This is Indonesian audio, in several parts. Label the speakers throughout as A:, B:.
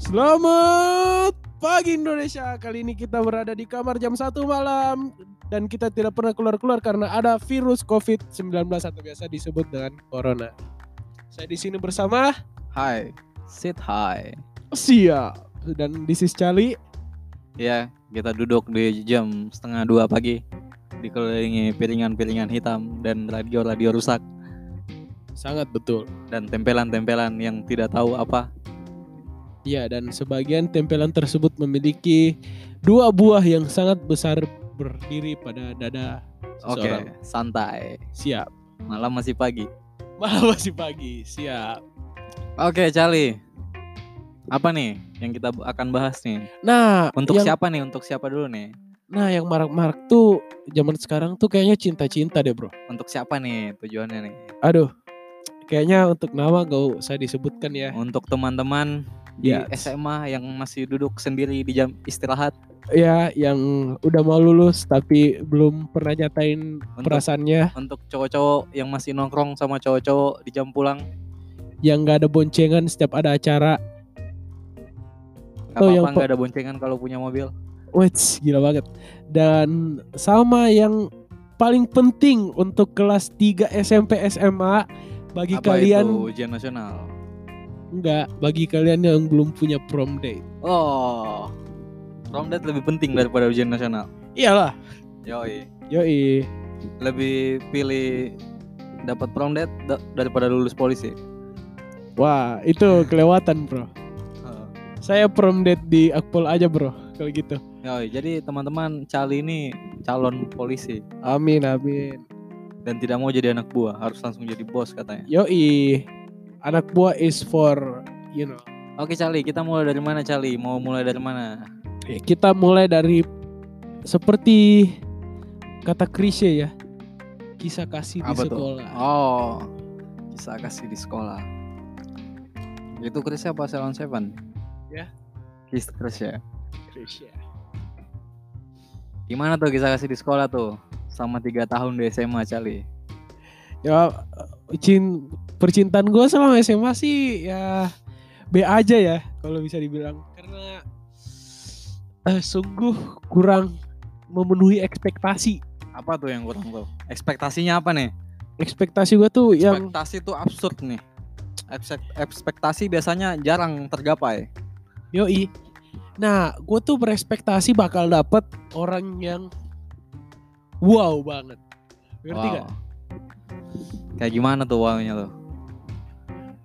A: Selamat pagi Indonesia. Kali ini kita berada di kamar jam 1 malam dan kita tidak pernah keluar-keluar karena ada virus COVID-19 atau biasa disebut dengan corona. Saya di sini bersama
B: Hai, sit hai.
A: Sia dan this is Cali.
B: Ya, kita duduk di jam setengah dua pagi dikelilingi piringan-piringan hitam dan radio-radio rusak
A: Sangat betul.
B: dan tempelan-tempelan yang tidak tahu apa.
A: Ya, dan sebagian tempelan tersebut memiliki dua buah yang sangat besar berdiri pada dada
B: Oke,
A: seseorang.
B: santai.
A: Siap.
B: Malam masih pagi.
A: Malah masih pagi. Siap.
B: Oke,
A: Iya.
B: Cali. Apa nih yang kita akan bahas nih?
A: Nah,
B: Untuk
A: yang-
B: siapa nih? Untuk siapa dulu nih?
A: Nah, yang marak-marak tuh zaman sekarang tuh kayaknya cinta-cinta deh, Bro.
B: Untuk siapa nih tujuannya nih?
A: Aduh. Kayaknya untuk nama gak usah disebutkan ya.
B: Untuk teman-teman di
A: Ya,
B: SMA yang masih duduk sendiri di jam istirahat
A: ya yang udah mau lulus tapi belum pernah nyatain
B: untuk
A: perasaannya,
B: untuk cowok-cowok yang masih nongkrong sama cowok-cowok di jam pulang
A: yang gak ada boncengan setiap ada acara.
B: Gak
A: Atau Oh, yang
B: apa-apa
A: pe-
B: nggak ada boncengan kalau punya mobil
A: Wets, gila banget. Dan sama yang paling penting untuk kelas 3 SMP SMA bagi
B: Apa
A: kalian
B: itu ujian nasional
A: enggak, bagi kalian yang belum punya prom date.
B: Oh Prom date lebih penting daripada ujian nasional
A: Iyalah.
B: Yoi
A: Yoi.
B: Lebih pilih dapat prom date da- daripada lulus polisi
A: Wah, itu kelewatan, Bro. Saya prom date di Akpol aja bro kalau gitu.
B: Yoi jadi teman-teman Cali ini calon polisi
A: Amin amin.
B: Dan tidak mau jadi anak buah harus langsung jadi bos katanya
A: Yoi, anak buah is for you know.
B: Oke Cali kita mulai dari mana Cali? Mau mulai dari mana?
A: Ya, Kita mulai dari seperti kata klise ya, kisah kasih di
B: Apa tuh?
A: sekolah.
B: Oh, bisa kasih di sekolah. Itu Chris apa Salon Seven?
A: Ya.
B: Chris Chris ya.
A: Klise.
B: Gimana tuh kisah kasih di sekolah tuh? Sama tiga tahun di SMA Cali.
A: Ya, cin percintaan gue selama SMA sih ya B aja ya kalau bisa dibilang karena eh, sungguh kurang memenuhi ekspektasi.
B: Apa tuh yang kurang tuh? Ekspektasinya apa nih?
A: Ekspektasi gue tuh Oh, yang
B: Ekspektasi tuh absurd nih. Ekspek- ekspektasi biasanya jarang tergapai.
A: Yoi. Nah, gue tuh berespektasi bakal dapet orang yang wow banget. Ngerti
B: Wow.
A: gak?
B: Kayak gimana tuh wownya tuh?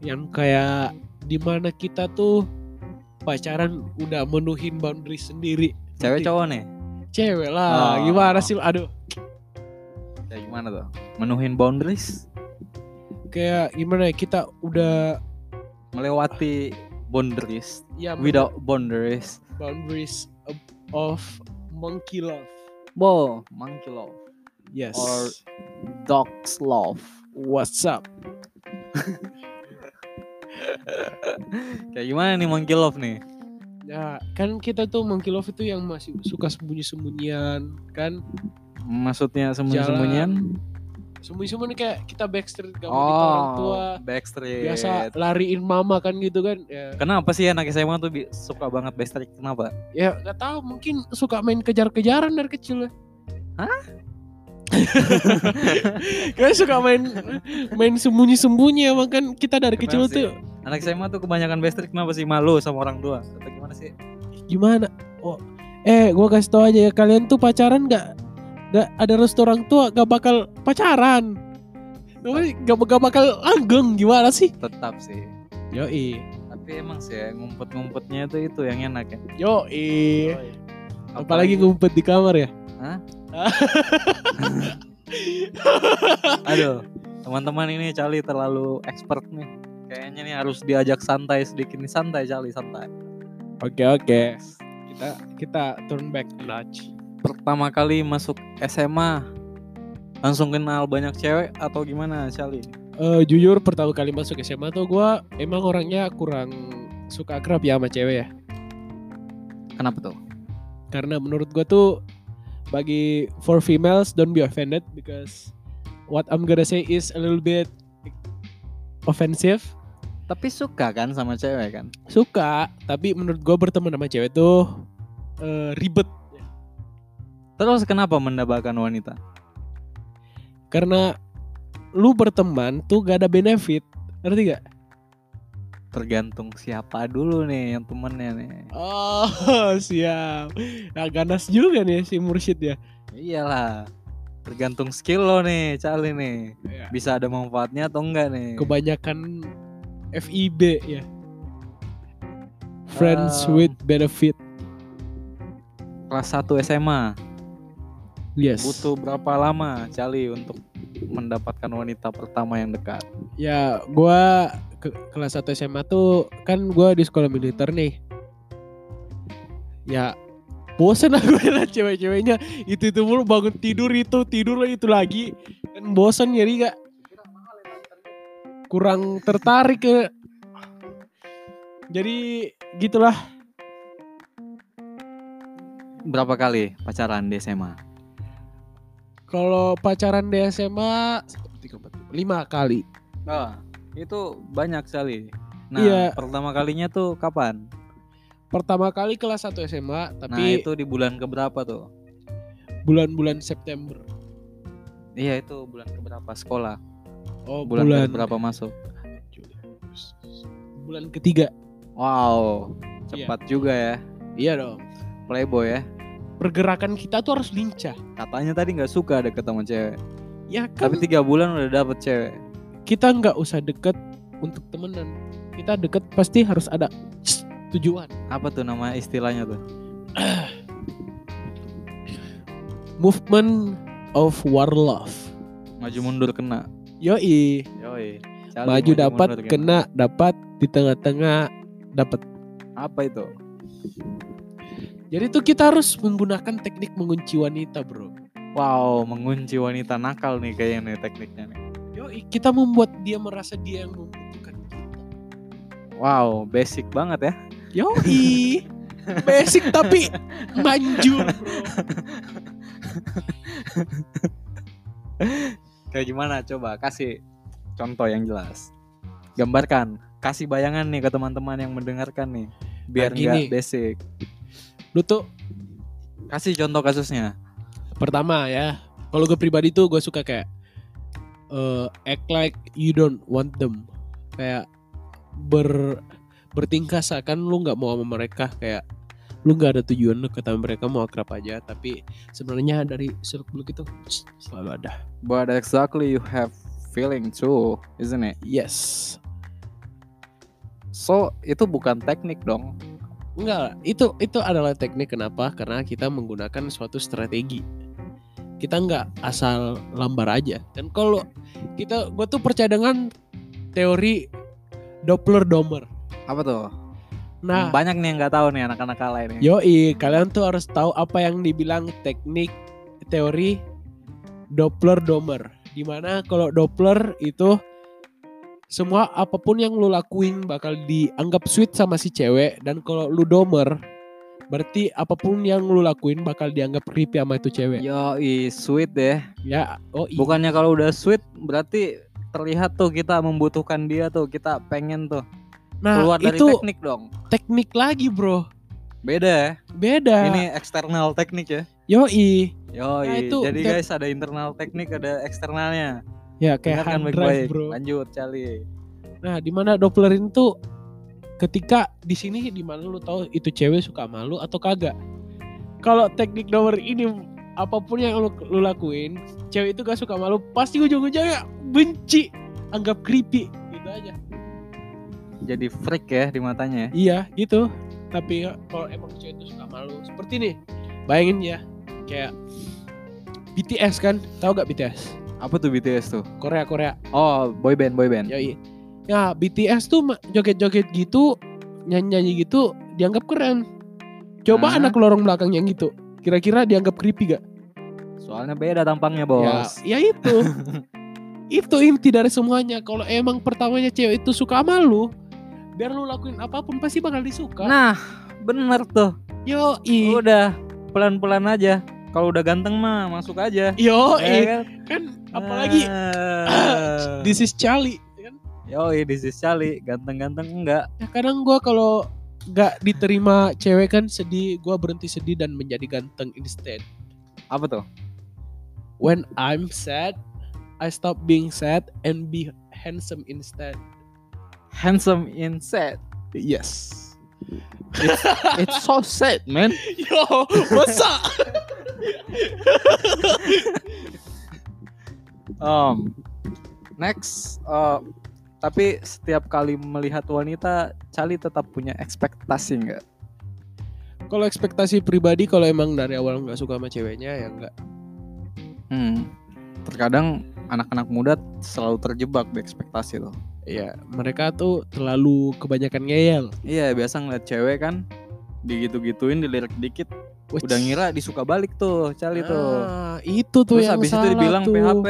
A: Yang kayak dimana kita tuh pacaran udah menuhin boundary sendiri.
B: Cewek
A: Ngerti?
B: cowok nih?
A: Cewek lah.
B: Ah.
A: Gimana sih? Aduh.
B: Kayak gimana tuh? Menuhin boundaries,
A: Kayak gimana ya? Kita udah
B: melewati boundaries,
A: ya
B: without boundaries.
A: boundaries of- of monkey love.
B: Wow, monkey love.
A: Yes.
B: Or- Dog's love.
A: What's up?
B: Kayak gimana nih monkey love nih?
A: Ya, kan kita tuh monkey love itu yang masih suka sembunyi-sembunyian, kan?
B: Maksudnya sembunyi-sembunyian? Oh,
A: sembunyi-sembunyi kayak kita backstreet gak mau kita orang tua
B: backstreet.
A: biasa lariin mama kan gitu kan ya
B: Kenapa sih anak SMA tuh bi- suka banget backstreet? Kenapa?
A: ya nggak tahu mungkin suka main kejar-kejaran dari kecil ya
B: Hah?
A: Kayaknya suka main main sembunyi-sembunyi emang kan kita dari
B: Kenapa
A: kecil tuh
B: sih? Anak SMA tuh kebanyakan backstreet kenapa sih malu sama orang tua? Atau gimana sih?
A: gimana oh eh gua kasih tau aja ya kalian tuh pacaran nggak nggak ada restu orang tua gak bakal pacaran gak, gak bakal langgeng gimana sih
B: Tetap sih.
A: yoi
B: Tapi emang sih ya, ngumpet-ngumpetnya itu itu yang enak ya. Oh, iya.
A: yoi Iya. Apalagi ngumpet di kamar ya?
B: Hah? Aduh, teman-teman ini Cali terlalu expert nih. Kayaknya nih harus diajak santai sedikit nih. Santai Cali, santai.
A: Oke oke. Kita kita turn back a notch.
B: Pertama kali masuk SMA langsung kenal banyak cewek atau gimana Cali?
A: Eh, jujur pertama kali masuk SMA tuh gua emang orangnya kurang suka akrab ya sama cewek ya.
B: Kenapa tuh?
A: Karena menurut gua tuh bagi for females don't be offended because what I'm gonna say is a little bit offensive.
B: Tapi suka kan sama cewek kan?
A: Suka, tapi menurut gue berteman sama cewek tuh eh, ribet
B: Terus kenapa mendapatkan wanita?
A: karena lu berteman tuh gak ada benefit. Ngerti gak?
B: Tergantung siapa dulu nih yang temennya nih.
A: Oh, siap. Nah, ganas juga nih si Mursyid ya.
B: Iyalah. Tergantung skill lo nih, Cali nih.
A: Iya.
B: Bisa ada manfaatnya atau enggak nih?
A: Kebanyakan FIB ya. Friends
B: Um,
A: with benefit.
B: Kelas 1 SMA
A: Yes.
B: butuh berapa lama Cali untuk mendapatkan wanita pertama yang dekat?
A: Ya, gua ke kelas 1 SMA tuh kan gua di sekolah militer nih. Ya, bosen lah gue liat cewek-ceweknya itu itu mulu bangun tidur itu tidur lah itu lagi kan bosen jadi gak kurang tertarik ke jadi gitulah
B: Berapa kali pacaran di SMA?
A: kalau pacaran di SMA tiga, empat, lima kali
B: Ah, itu banyak Cali. Nah,
A: Iya.
B: pertama kalinya tuh kapan?
A: pertama kali kelas 1 SMA
B: Nah,
A: tapi
B: itu di bulan keberapa tuh?
A: bulan-bulan September
B: Iya, itu bulan keberapa sekolah?
A: oh
B: Bulan,
A: bulan
B: berapa masuk?
A: bulan ketiga
B: Wow, cepat juga ya.
A: iya dong
B: Playboy ya.
A: pergerakan kita tuh harus lincah
B: Katanya tadi nggak suka deket sama cewek.
A: ya
B: Tapi
A: kan
B: tiga bulan udah dapet cewek.
A: kita nggak usah deket untuk temenan kita deket pasti harus ada tujuan
B: Apa tuh nama istilahnya tuh?
A: movement of war love
B: Maju mundur kena.
A: yoi
B: Yoi. Cali,
A: maju dapat
B: mundur
A: kena dapat di tengah-tengah dapat
B: Apa itu?
A: jadi tuh kita harus menggunakan teknik mengunci wanita bro
B: Wow, mengunci wanita nakal nih kayaknya nih tekniknya nih.
A: yoi kita membuat dia merasa dia yang membutuhkan kita
B: Wow, basic banget ya.
A: Yoi. Basic tapi manjur.
B: Kayak gimana? Coba kasih contoh yang jelas. Gambarkan, kasih bayangan nih ke teman-teman yang mendengarkan nih, biar
A: Nah, gini.
B: nggak basic.
A: Lu tuh
B: Kasih contoh kasusnya.
A: pertama ya. Kalau gue pribadi tuh gue suka kayak eh, act like you don't want them. Kayak ber bertingkah seakan lu nggak mau sama mereka kayak lu nggak ada tujuan lu kata mereka mau akrab aja tapi sebenarnya dari seluk beluk itu sh, selalu ada
B: But exactly you have feeling too, isn't it?
A: yes
B: So itu bukan teknik dong.
A: Enggak, itu itu adalah teknik kenapa? Karena kita menggunakan suatu strategi. Kita nggak asal lambar aja. Dan kalau kita gue tuh percaya dengan teori Doppler Domer.
B: Apa tuh?
A: Nah,
B: Banyak nih yang nggak tahu nih anak-anak lain ya. nih.
A: yoi, kalian tuh harus tahu apa yang dibilang teknik teori Doppler Domer. Dimana kalau Doppler itu semua apapun yang lu lakuin bakal dianggap sweet sama si cewek dan kalau lu domer berarti apapun yang lu lakuin bakal dianggap creepy sama itu cewek.
B: Yo, sweet deh.
A: Ya, oh i-
B: Bukannya kalau udah sweet berarti terlihat tuh kita membutuhkan dia tuh, kita pengen tuh
A: nah
B: keluar dari
A: itu
B: teknik dong.
A: teknik lagi, Bro.
B: Beda ya.
A: Beda.
B: Ini eksternal teknik ya.
A: Yoi.
B: Yoi,
A: Nah, itu-
B: jadi
A: itu-
B: guys ada internal teknik, ada eksternalnya.
A: Ya kayak
B: Dengarkan
A: hand drive,
B: baik-baik.
A: Bro.
B: Lanjut, Cali.
A: Nah, di mana Doppler ini tuh ketika di sini di mana lu tahu itu cewek suka malu atau kagak. Kalau teknik nomor ini apapun yang lu, lu lakuin, cewek itu gak suka malu, pasti ujung-ujungnya benci, anggap creepy gitu aja.
B: Jadi freak ya di matanya. ya.
A: Iya, gitu. Tapi kalau emang cewek itu suka malu, seperti nih. Bayangin ya, kayak BTS kan, tahu gak BTS?
B: Apa tuh BTS tuh?
A: Korea Korea.
B: Oh, boy band, boy band.
A: Yoi. Ya BTS tuh ma- joget-joget gitu, nyanyi-nyanyi gitu dianggap keren. Coba
B: Hah?
A: anak lorong belakang yang gitu. Kira-kira dianggap creepy gak?
B: Soalnya beda tampangnya, Bos.
A: Ya, ya itu. itu inti dari semuanya. Kalau emang pertamanya cewek itu suka sama lu, biar lu lakuin apapun pasti bakal disuka.
B: Nah, bener tuh.
A: Yoi.
B: Udah pelan-pelan aja. Kalau udah ganteng mah masuk aja.
A: Yoi.
B: Ya kan?
A: Kan apalagi
B: Ah.
A: this is Charlie. ya kan?
B: Yo, this is Cali. Ganteng-ganteng enggak?
A: Ya, kadang gua kalau nggak diterima cewek kan sedih, gua berhenti sedih dan menjadi ganteng instead.
B: Apa tuh?
A: When I'm sad, I stop being sad and be handsome instead.
B: Handsome instead.
A: Yes.
B: It's so sad, man.
A: Yo, masa?
B: Um, next, uh, tapi setiap kali melihat wanita, Cali tetap punya ekspektasi nggak?
A: kalau ekspektasi pribadi kalau emang dari awal nggak suka sama ceweknya ya nggak.
B: Hmm. Terkadang anak-anak muda selalu terjebak di ekspektasi loh.
A: Ya, mereka tuh terlalu kebanyakan ngeyel.
B: Iya, biasa ngeliat cewek kan digitu-gituin dilirik dikit
A: Wih,
B: udah ngira disuka balik tuh Cali tuh.
A: Ah, itu tuh
B: Terus
A: yang
B: habis itu
A: salah
B: dibilang
A: tuh.
B: PHP.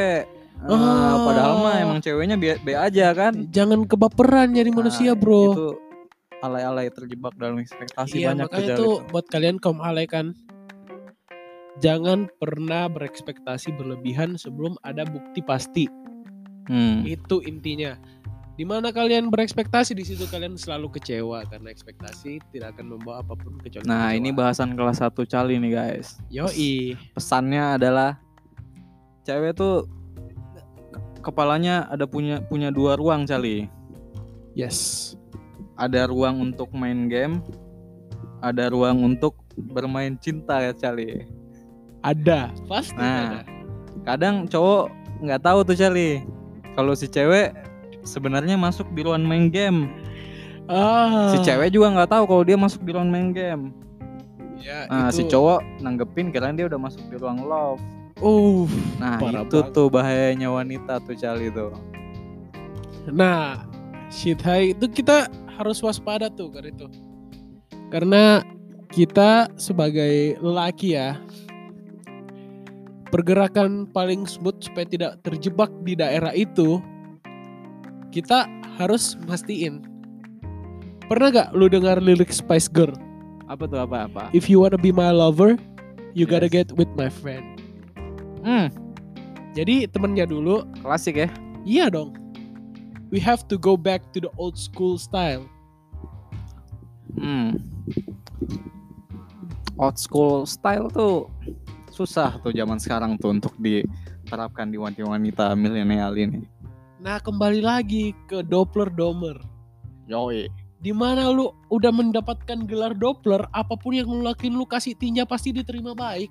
B: Ah,
A: Ah.
B: padahal mah emang ceweknya B, B aja kan.
A: Jangan kebaperan jadi
B: Nah,
A: manusia, Bro.
B: Itu alay-alay terjebak dalam ekspektasi
A: Iya,
B: banyak
A: makanya
B: kejadian
A: tuh buat kalian kaum alay kan jangan pernah berekspektasi berlebihan sebelum ada bukti pasti.
B: Hmm.
A: Itu intinya. Dimana kalian berekspektasi di situ kalian selalu kecewa karena ekspektasi tidak akan membawa apapun kecuali
B: Nah, ini
A: kecewaan.
B: bahasan kelas 1 Cali nih, guys.
A: Yoi.
B: Pesannya adalah cewek tuh ke- kepalanya ada punya punya dua ruang, Cali.
A: Yes.
B: Ada ruang untuk main game, ada ruang untuk bermain cinta ya, Cali.
A: Ada, pasti ada.
B: Nah. Kadang cowok nggak tahu tuh, Cali. Kalau si cewek sebenarnya masuk di ruang main game.
A: Ah.
B: Si cewek juga nggak tahu kalau dia masuk di ruang main game.
A: Ya,
B: Nah, si
A: itu-
B: cowok nanggepin kira dia udah masuk di ruang love.
A: Uh.
B: Nah,
A: Parah
B: itu
A: banget.
B: tuh bahayanya wanita tuh Cali tuh.
A: Nah, shit hai itu kita harus waspada tuh karena itu. Karena kita sebagai lelaki ya pergerakan paling smooth supaya tidak terjebak di daerah itu kita harus mastiin pernah gak lu dengar lirik Spice Girl
B: Apa tuh apa-apa?
A: if you wanna be my lover you gotta
B: Yes.
A: get with my friend
B: Hmm,
A: jadi temennya dulu
B: klasik ya.
A: Iya dong. We have to go back to the old school style.
B: Hmm. Old school style tuh susah tuh zaman sekarang tuh untuk diterapkan di wanita-wanita milenial ini.
A: Nah, kembali lagi ke Doppler Domer.
B: Yoi.
A: Di mana lu udah mendapatkan gelar Doppler, apapun yang lu lakuin lu kasih tinja pasti diterima baik.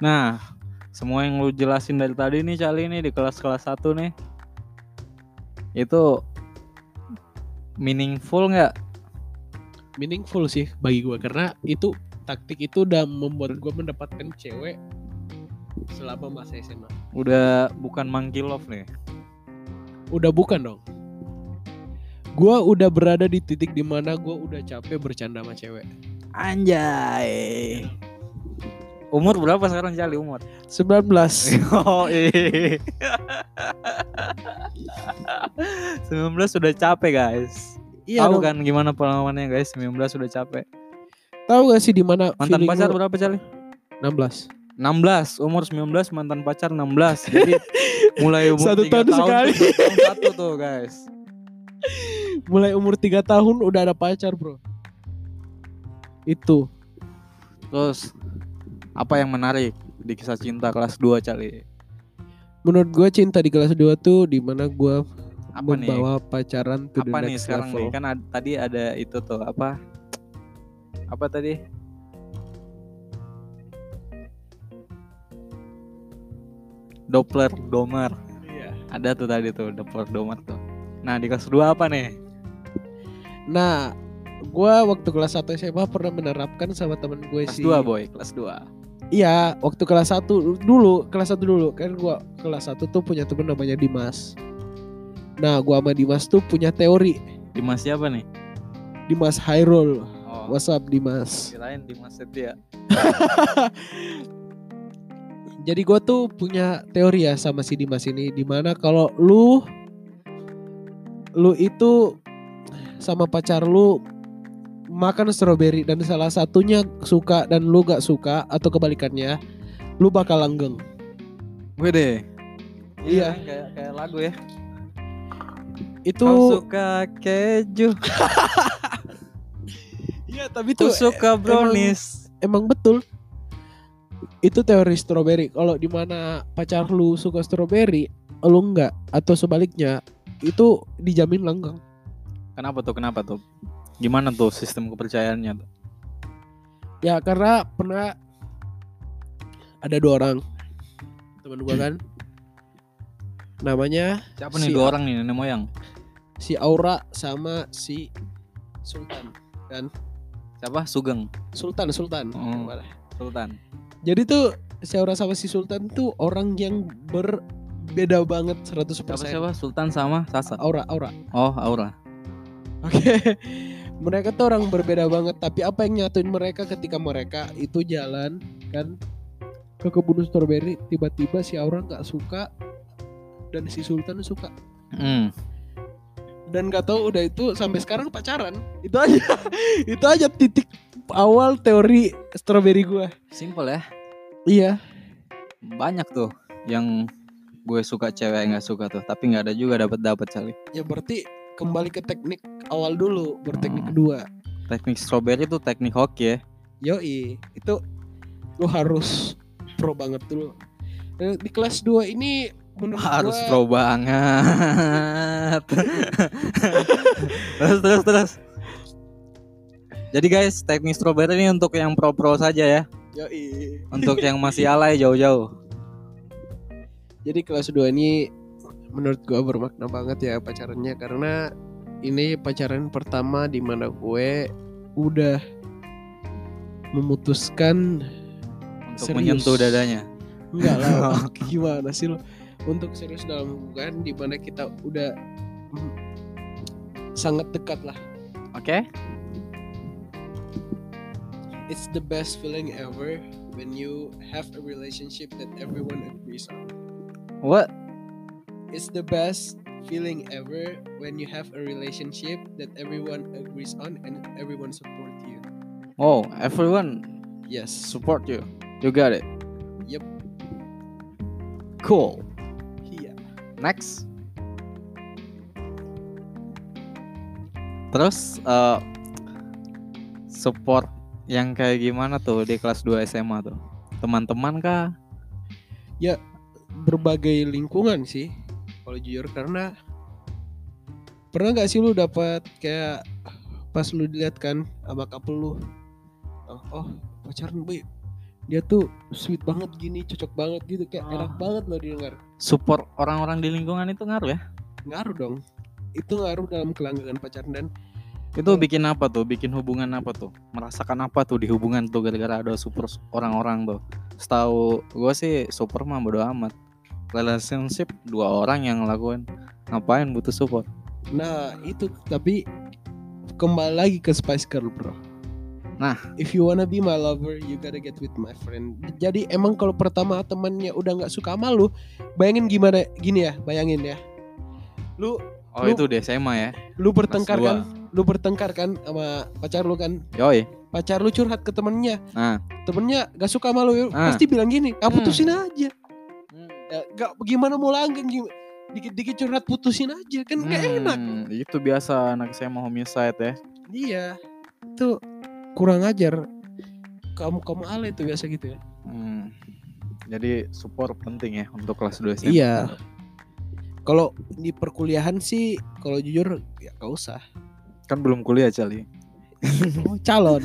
B: Nah, semua yang lu jelasin dari tadi nih Cali nih di kelas-kelas 1 nih. Itu meaningful nggak?
A: Meaningful sih bagi gue karena itu taktik itu udah membuat gue mendapatkan cewek selama masa SMA.
B: Udah bukan monkey love nih.
A: Udah bukan dong. Gue udah berada di titik dimana gue udah capek bercanda sama cewek.
B: Anjay. Umur berapa sekarang Cali umur?
A: 19.
B: Oh, 19 sudah capek guys.
A: Iya
B: Tahu
A: dong.
B: kan gimana pengalamannya guys? 19 sudah capek.
A: Tahu gak sih di mana
B: Mantan
A: feeling
B: pacar
A: lu-
B: berapa Cali?
A: 16.
B: 16, umur 19 mantan pacar 16. Jadi mulai umur
A: Satu
B: tiga
A: tahun sekali.
B: tuh baru tahun satu tuh guys.
A: mulai umur 3 tahun udah ada pacar bro itu
B: Terus apa yang menarik di kisah cinta kelas 2 Cali?
A: menurut gue cinta di kelas 2 tuh dimana gue
B: Apa nih?
A: membawa pacaran to the
B: apa nih
A: next
B: sekarang
A: level
B: nih kan ad- tadi ada itu tuh apa apa tadi Doppler Domer
A: Iya.
B: ada tuh tadi tuh Doppler Domer tuh nah di kelas 2 apa nih
A: nah gue waktu kelas 1 SMA pernah menerapkan sama temen gue
B: kelas
A: Iya sih
B: 2 boy kelas 2
A: iya waktu kelas 1 dulu kelas 1 dulu kan gue kelas 1 tuh punya temen namanya Dimas nah gue sama Dimas tuh punya teori
B: Dimas siapa nih
A: Dimas Hairul
B: oh
A: what's up Dimas
B: kirain Dimas Setia
A: jadi gue tuh punya teori ya sama si Dimas ini dimana kalau lu lu itu sama pacar lu makan stroberi dan salah satunya suka dan lu gak suka atau kebalikannya lu bakal langgeng
B: gue deh
A: Iya.
B: kayak kayak lagu ya
A: itu
B: Kau suka keju,
A: Iya tapi itu
B: aku suka brownies.
A: emang betul itu teori strawberry kalau di mana pacar lu suka strawberry lu enggak atau sebaliknya itu dijamin langgeng
B: Kenapa tuh? Kenapa tuh? Gimana tuh sistem kepercayaannya? tuh?
A: ya karena pernah ada dua orang teman gua kan namanya
B: Siapa nih
A: Si-
B: dua orang nih nenek moyang?
A: si Aura sama si Sultan dan
B: Siapa? Sugeng,
A: Sultan Sultan
B: Hmm. Sultan.
A: jadi tuh si Aura sama si Sultan tuh orang yang berbeda banget 100%
B: Siapa siapa? Sultan sama Sasa.
A: Aura Aura
B: Oh, Aura.
A: Oke. mereka tuh orang berbeda banget, tapi apa yang nyatuin mereka ketika mereka itu jalan kan ke kebun strawberry, tiba-tiba si Aura nggak suka dan si Sultan suka.
B: Hmm.
A: Dan gak tahu udah itu sampai sekarang pacaran. Itu aja. itu aja titik awal teori strawberry gua.
B: Simple ya.
A: Iya.
B: Banyak tuh yang gue suka cewek nggak suka tuh, tapi nggak ada juga dapat dapat kali.
A: Ya berarti kembali ke teknik awal dulu, berteknik
B: Hmm.
A: kedua.
B: Teknik strawberry tuh teknik hoki ya.
A: Yoi, itu lu harus pro banget dulu. Eh, Di kelas 2 ini menurut
B: Harus
A: gua,
B: pro banget. terus terus terus. Jadi guys, teknik strawberry ini untuk yang pro-pro saja ya.
A: Yoi.
B: Untuk yang masih alay jauh-jauh.
A: Jadi kelas 2 ini menurut gua bermakna banget ya pacarannya karena ini pacaran pertama di mana gue udah memutuskan
B: Untuk
A: Serius.
B: menyentuh dadanya.
A: enggak lah gimana sih lo untuk serius dalam hubungan di mana kita udah mm, sangat dekat lah
B: Oke?
A: It's the best feeling ever when you have a relationship that everyone agrees on.
B: What?
A: It's the best feeling ever when you have a relationship that everyone agrees on and everyone support you.
B: Wow, everyone
A: Yes.
B: support you. You got it.
A: Yep.
B: Cool.
A: Iya.
B: Next. Terus eh, support yang kayak gimana tuh di kelas 2 SMA tuh? Teman-teman kah?
A: Berbagai lingkungan sih kalau jujur karena pernah nggak sih lu dapat kayak pas lu dilihat kan sama couple lu oh, oh pacaran boy dia tuh sweet banget gini cocok banget gitu kayak
B: Ah.
A: enak banget lo didengar
B: Support orang-orang di lingkungan itu ngaruh ya?
A: ngaruh dong itu ngaruh dalam kelanggengan pacaran dan
B: Itu
A: Hmm.
B: bikin apa tuh? Bikin hubungan apa tuh? Merasakan apa tuh di hubungan tuh gara-gara ada support orang-orang tuh? Setahu gue sih support mah bodo amat. Relationship dua orang yang ngelakuin. Ngapain butuh support?
A: nah itu tapi kembali lagi ke Spice Girl bro
B: Nah.
A: if you wanna be my lover you gotta get with my friend jadi emang kalau pertama temannya udah nggak suka sama lu bayangin gimana gini ya bayangin ya lu
B: Oh
A: Lu-
B: itu di SMA ya?
A: lu bertengkar
B: dua.
A: kan lu bertengkar kan sama pacar lu kan
B: Yoi.
A: pacar lu curhat ke temennya
B: Nah.
A: temennya gak suka sama lu
B: Nah.
A: pasti bilang gini ah
B: Hmm.
A: putusin aja ya, gak gimana mau langgeng gim- dikit-dikit curhat putusin aja kan nggak enak
B: Hmm, Itu biasa anak SMA homicide ya.
A: iya itu kurang ajar kamu kamu ale tuh biasa gitu ya
B: Hmm. Jadi support penting ya untuk kelas 2 SMA.
A: iya kalau di perkuliahan sih kalau jujur ya gak usah
B: Kan belum kuliah Cali.
A: Kamu Oh, calon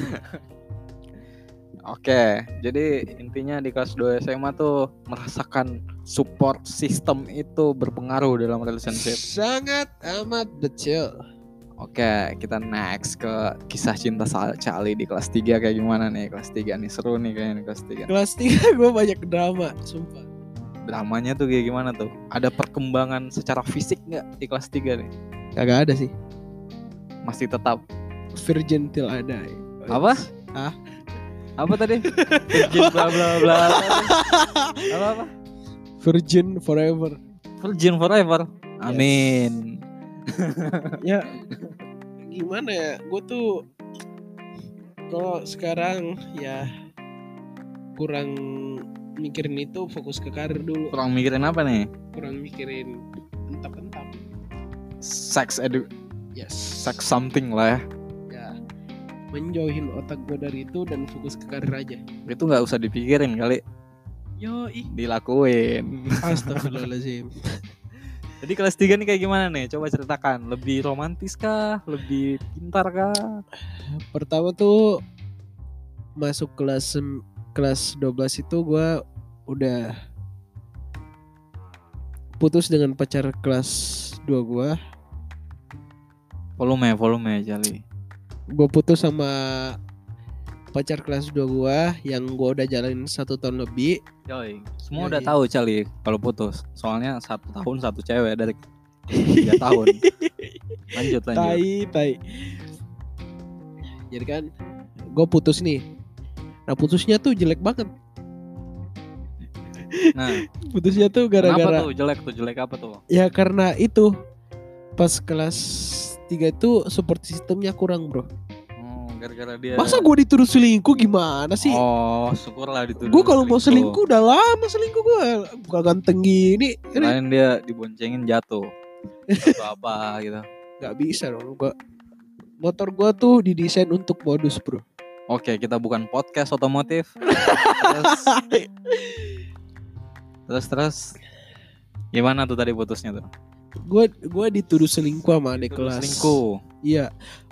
B: Oke, jadi intinya di kelas 2 SMA tuh merasakan support system itu berpengaruh dalam relationship.
A: sangat amat betul
B: Oke, kita next ke kisah cinta Sa- Cali di kelas 3 kayak gimana nih? Kelas 3 nih seru nih kayaknya nih kelas
A: kelas 3 gue banyak drama sumpah
B: 3. Dramanya tuh kayak gimana tuh? Ada perkembangan secara fisik nggak di kelas 3 nih?
A: kagak ada sih
B: Masih tetap
A: virgin till I die
B: apa?
A: Hah?
B: Apa tadi? Virgin bla bla bla. Apa apa?
A: virgin forever
B: Virgin forever. Amin.
A: ya gimana ya gue tuh kalau sekarang ya kurang mikirin itu fokus ke karir dulu
B: Kurang mikirin apa nih?
A: kurang mikirin entap entap
B: sex edu
A: Yes.
B: sex something lah ya
A: Ya. Menjauhin otak gue dari itu dan fokus ke karir aja.
B: itu nggak usah dipikirin kali
A: Yo ih.
B: dilakuin
A: Astagfirullahaladzim.
B: jadi kelas 3 nih kayak gimana nih coba ceritakan lebih romantis kah lebih pintar kah
A: Pertama tuh masuk kelas sem- kelas 12 itu gue udah putus dengan pacar kelas 2 gue.
B: volume volume jali
A: Gue putus sama pacar kelas 2 gue yang gue udah jalanin satu tahun lebih.
B: Joy, semua
A: Yoi.
B: udah tahu Cali kalau putus. Soalnya satu tahun satu cewek dari tiga tahun. Lanjut lanjut.
A: tai tai jadi kan gue putus nih nah putusnya tuh jelek banget
B: Nah,
A: putusnya tuh
B: kenapa
A: gara-gara
B: tuh jelek tuh jelek apa tuh?
A: ya karena itu pas kelas 3 itu support sistemnya kurang bro
B: Oh, gara-gara dia.
A: masa gue dituduh selingkuh gimana sih
B: Oh, syukurlah dituduh.
A: gue kalau mau selingkuh udah lama selingkuh gue bukan ganteng gini ini
B: lain dia diboncengin jatuh. Atau apa gitu.
A: nggak bisa dong gue motor gue tuh didesain untuk modus bro
B: Oke, kita bukan podcast otomotif. terus terus terus gimana tuh tadi putusnya tuh?
A: gue gue dituduh selingkuh sama adik
B: Dituduh
A: kelas
B: Selingkuh.
A: Iya.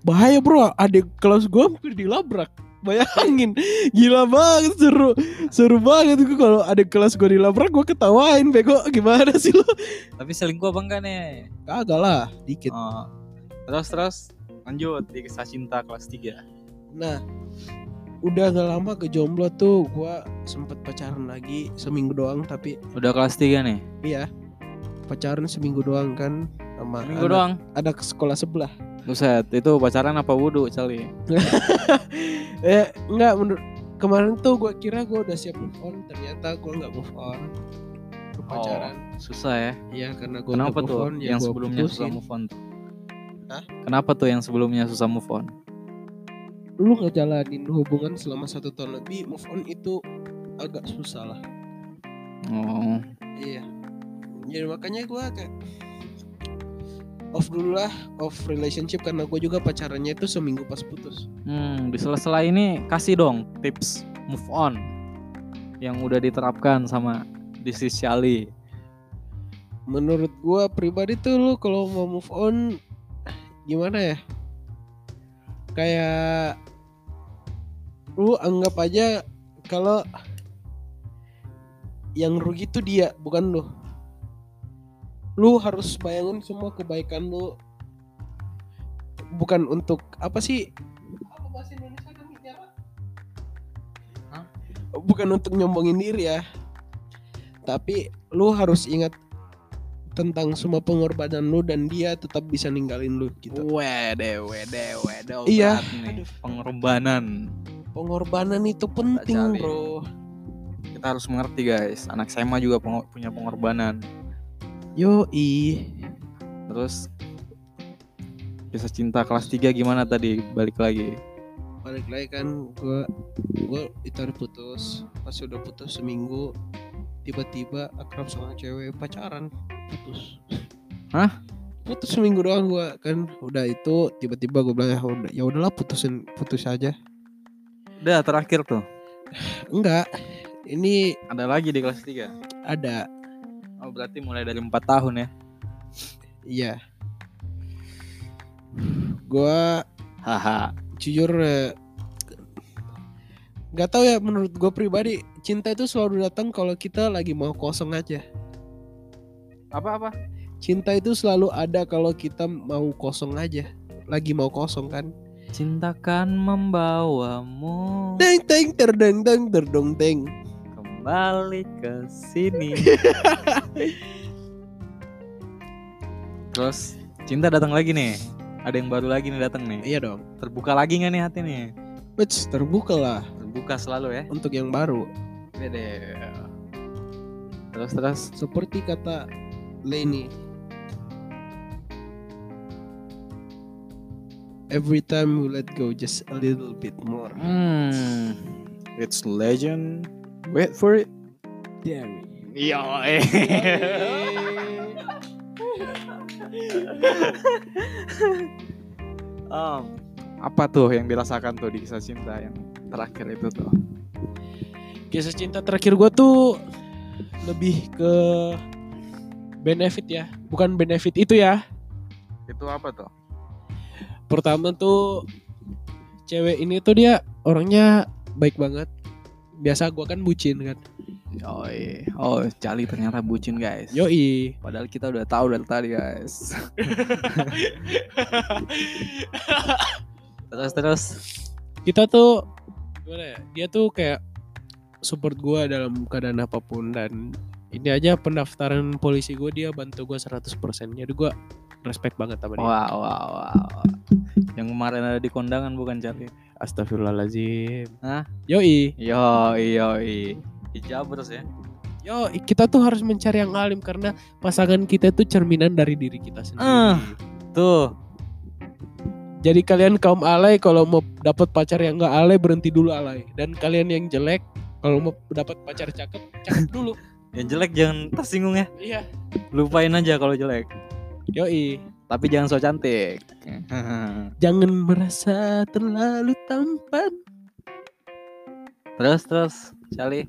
A: Bahaya bro, adik kelas gue hampir dilabrak. Bayangin, gila banget seru. Seru banget gue kalau adik kelas gue dilabrak gue ketawain bego. Gimana sih lo?
B: Tapi selingkuh apa enggak nih?
A: Kagak lah, dikit.
B: Oh. Terus terus lanjut di kisah cinta kelas 3.
A: Nah, udah gak lama ke jomblo tuh gue sempet pacaran lagi seminggu doang tapi
B: Udah kelas 3 nih.
A: iya pacaran seminggu doang kan sama anak,
B: Minggu doang.
A: anak sekolah sebelah
B: Buset, itu pacaran apa wudhu, Cali?
A: eh enggak menurut kemarin tuh gue kira gue udah siap move on ternyata gue nggak move on Ke pacaran
B: Susah ya.
A: Iya karena gue
B: Kenapa tuh
A: ya
B: yang sebelumnya susah move on? tuh?
A: Hah?
B: Kenapa tuh yang sebelumnya susah move on?
A: Lu ngejalanin hubungan selama satu tahun lebih Move on itu agak susah lah
B: Oh,
A: Iya Jadi makanya gue kayak Off dulu lah Off relationship Karena gue juga pacarannya itu seminggu pas putus
B: hmm, di sela-sela ini kasih dong tips move on yang udah diterapkan sama Disi Cali.
A: Menurut gue pribadi tuh lu kalau mau move on Gimana ya Kayak Lu anggap aja Kalau yang rugi tuh dia bukan lu lu harus bayangin semua kebaikan lu bukan untuk apa sih Apa bahasa Indonesia kan ini apa?
B: Hah?
A: bukan untuk nyombongin diri ya tapi lu harus ingat tentang semua pengorbanan lu dan dia tetap bisa ninggalin lu gitu
B: Wede, wede, wede.
A: Iya.
B: berat nih. Pengorbanan.
A: pengorbanan itu penting
B: Cari.
A: bro
B: kita harus mengerti guys anak SMA juga pengo- punya pengorbanan
A: yo i
B: terus kisah cinta kelas 3 gimana tadi balik lagi
A: balik lagi kan gue gue ditarik putus pas udah putus seminggu tiba-tiba akrab sama cewek pacaran putus
B: Hah?
A: putus seminggu doang gue kan udah itu tiba-tiba gue bilang ya udah ya udahlah putusin putus aja
B: udah terakhir tuh
A: enggak ini
B: ada lagi di kelas 3
A: ada
B: oh berarti mulai dari empat tahun ya
A: iya gue
B: haha
A: jujur eh, nggak tahu ya menurut gue pribadi cinta itu selalu datang kalau kita lagi mau kosong aja
B: apa apa
A: Cinta itu selalu ada kalau kita mau kosong aja. Lagi mau kosong kan?
B: cintakan membawamu
A: Teng teng terdeng teng terdong teng.
B: kembali ke sini terus cinta datang lagi nih ada yang baru lagi nih datang nih
A: Iya dong.
B: terbuka lagi nggak nih hati nih
A: Which terbuka lah
B: terbuka selalu ya
A: untuk yang baru.
B: Bede. Terus terus
A: Seperti kata Lenny. Every time you let go just a little bit more.
B: hmm. It's legend Wait for it
A: Dairy.
B: Yo Em, apa tuh yang dirasakan tuh di kisah cinta yang terakhir itu tuh?
A: Kisah cinta terakhir gue tuh lebih ke benefit ya, bukan benefit itu ya.
B: Itu apa tuh?
A: Pertama tuh cewek ini tuh dia orangnya baik banget. Biasa gua kan bucin kan.
B: Oh, iya. oh Cali ternyata bucin guys.
A: Yoi.
B: Padahal kita udah tahu dari tadi guys. terus terus.
A: Kita tuh gimana ya? Dia tuh kayak support gua dalam keadaan apapun dan ini aja pendaftaran polisi gue dia bantu gue 100% jadi gue respect banget sama dia
B: Wow wow wow. Yang kemarin ada di kondangan bukan Cali?
A: Astagfirullahaladzim
B: Hah?
A: Yoi
B: Yo yo Hijab terus ya.
A: Yo kita tuh harus mencari yang alim Karena pasangan kita tuh cerminan dari diri kita sendiri
B: Ah. Tuh.
A: Jadi kalian kaum alay kalau mau dapat pacar yang gak alay berhenti dulu alay Dan kalian yang jelek kalau mau dapat pacar cakep cakep dulu
B: Yang jelek jangan tersinggung ya.
A: Iya
B: Lupain aja kalau jelek.
A: Yoi
B: Tapi jangan so cantik.
A: Jangan merasa terlalu tampan
B: terus terus Cali.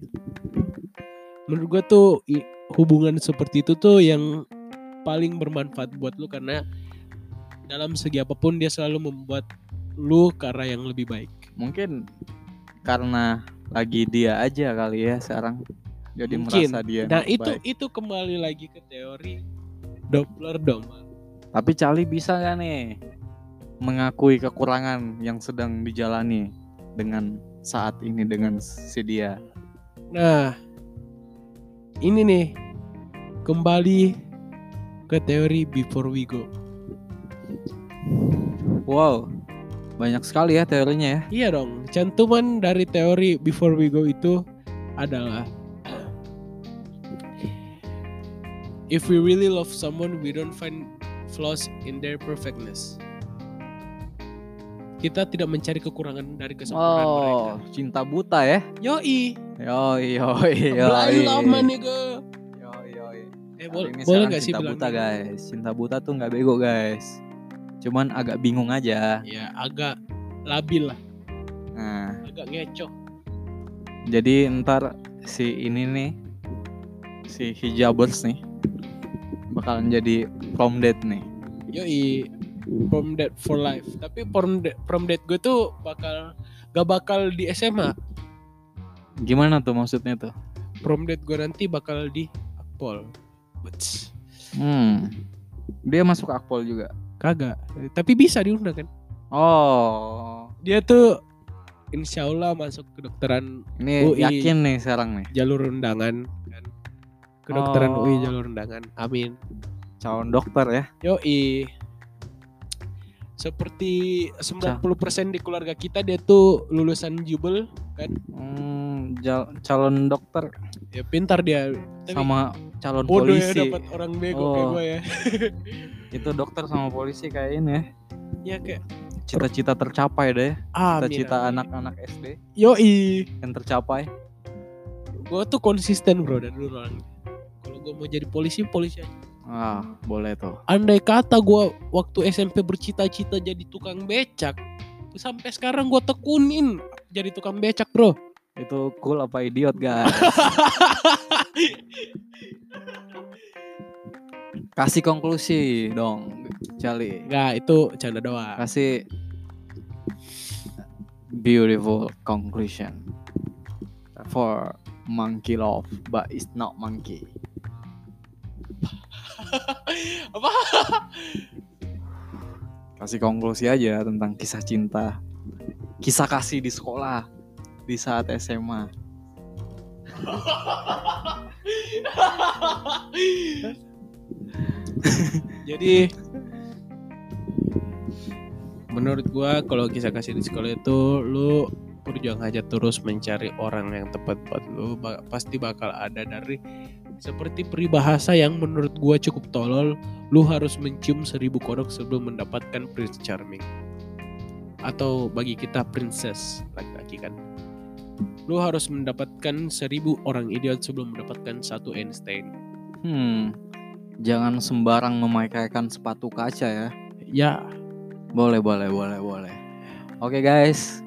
A: menurut gue tuh i- hubungan seperti itu tuh yang paling bermanfaat buat lu karena dalam segi apapun dia selalu membuat lu ke arah yang lebih baik.
B: Mungkin karena lagi dia aja kali ya sekarang. Jadi
A: Mungkin.
B: merasa dia.
A: Nah
B: yang
A: itu
B: baik.
A: itu kembali lagi ke teori Doppler Doman.
B: Tapi Cali bisa nggak nih mengakui kekurangan yang sedang dijalani dengan saat ini dengan si dia.
A: Nah ini nih kembali ke teori before we go.
B: Wow. Banyak sekali ya teorinya ya.
A: Iya dong, cantuman dari teori before we go itu adalah if we really love someone we don't find flaws in their perfectness. Kita tidak mencari kekurangan dari kesempurnaan
B: Oh,
A: mereka.
B: cinta buta ya.
A: Yoi,
B: Yo yo yo.
A: blind love man nigga.
B: Yo yo.
A: Eh,
B: Hari
A: bol-
B: ini
A: boleh
B: sekarang
A: gak sih
B: cinta
A: bilang
B: buta
A: gitu?
B: guys cinta buta tuh nggak bego guys cuman agak bingung aja
A: Ya agak labil lah,
B: nah
A: agak ngecoh.
B: jadi ntar si ini nih si hijabers nih bakalan jadi prom date nih
A: Yoi Prom date for life Tapi prom date, prom date gue tuh bakal Gak bakal di SMA
B: gimana tuh maksudnya tuh
A: Prom date gue nanti bakal di Akpol Wets.
B: hmm dia masuk akpol juga
A: Kagak Tapi bisa diundang kan
B: oh
A: Dia tuh Insya Allah masuk kedokteran
B: ini
A: UI.
B: yakin nih sekarang nih
A: jalur undangan kan? Kedokteran
B: Oh.
A: UI jalur undangan Amin
B: calon dokter ya
A: Yoi seperti 90% di keluarga kita dia tuh lulusan jubel
B: hmm, jal- calon dokter
A: ya pintar dia Tapi
B: sama calon
A: bodoh
B: polisi
A: ya dapat orang bego kayak
B: Oh.
A: gue ya
B: itu dokter sama polisi kayak ini ya
A: ya kayak
B: cita-cita tercapai deh
A: ah
B: cita-cita anak-anak SD
A: yoi
B: yang tercapai
A: gue tuh konsisten bro dari dulu orangnya kalau gue mau jadi polisi polisi aja
B: ah boleh tuh
A: andai kata gue waktu SMP bercita-cita jadi tukang becak sampai sekarang gue tekunin jadi tukang becak bro
B: itu cool apa idiot guys kasih konklusi dong Cali
A: Enggak itu canda doang
B: kasih beautiful conclusion for monkey love but it's not monkey
A: Apa?
B: kasih konklusi aja tentang kisah cinta kisah kasih di sekolah di saat SMA
A: jadi menurut gue kalau kisah kasih di sekolah itu lu berjuang aja terus mencari orang yang tepat buat lu Ba- pasti bakal ada dari seperti peribahasa yang menurut gua cukup tolol lu harus mencium seribu kodok sebelum mendapatkan prince charming atau bagi kita princess laki-laki kan lu harus mendapatkan seribu orang idiot sebelum mendapatkan satu Einstein
B: hmm jangan sembarang memakaikan sepatu kaca ya.
A: Ya,
B: Boleh, boleh, boleh, boleh. Oke guys,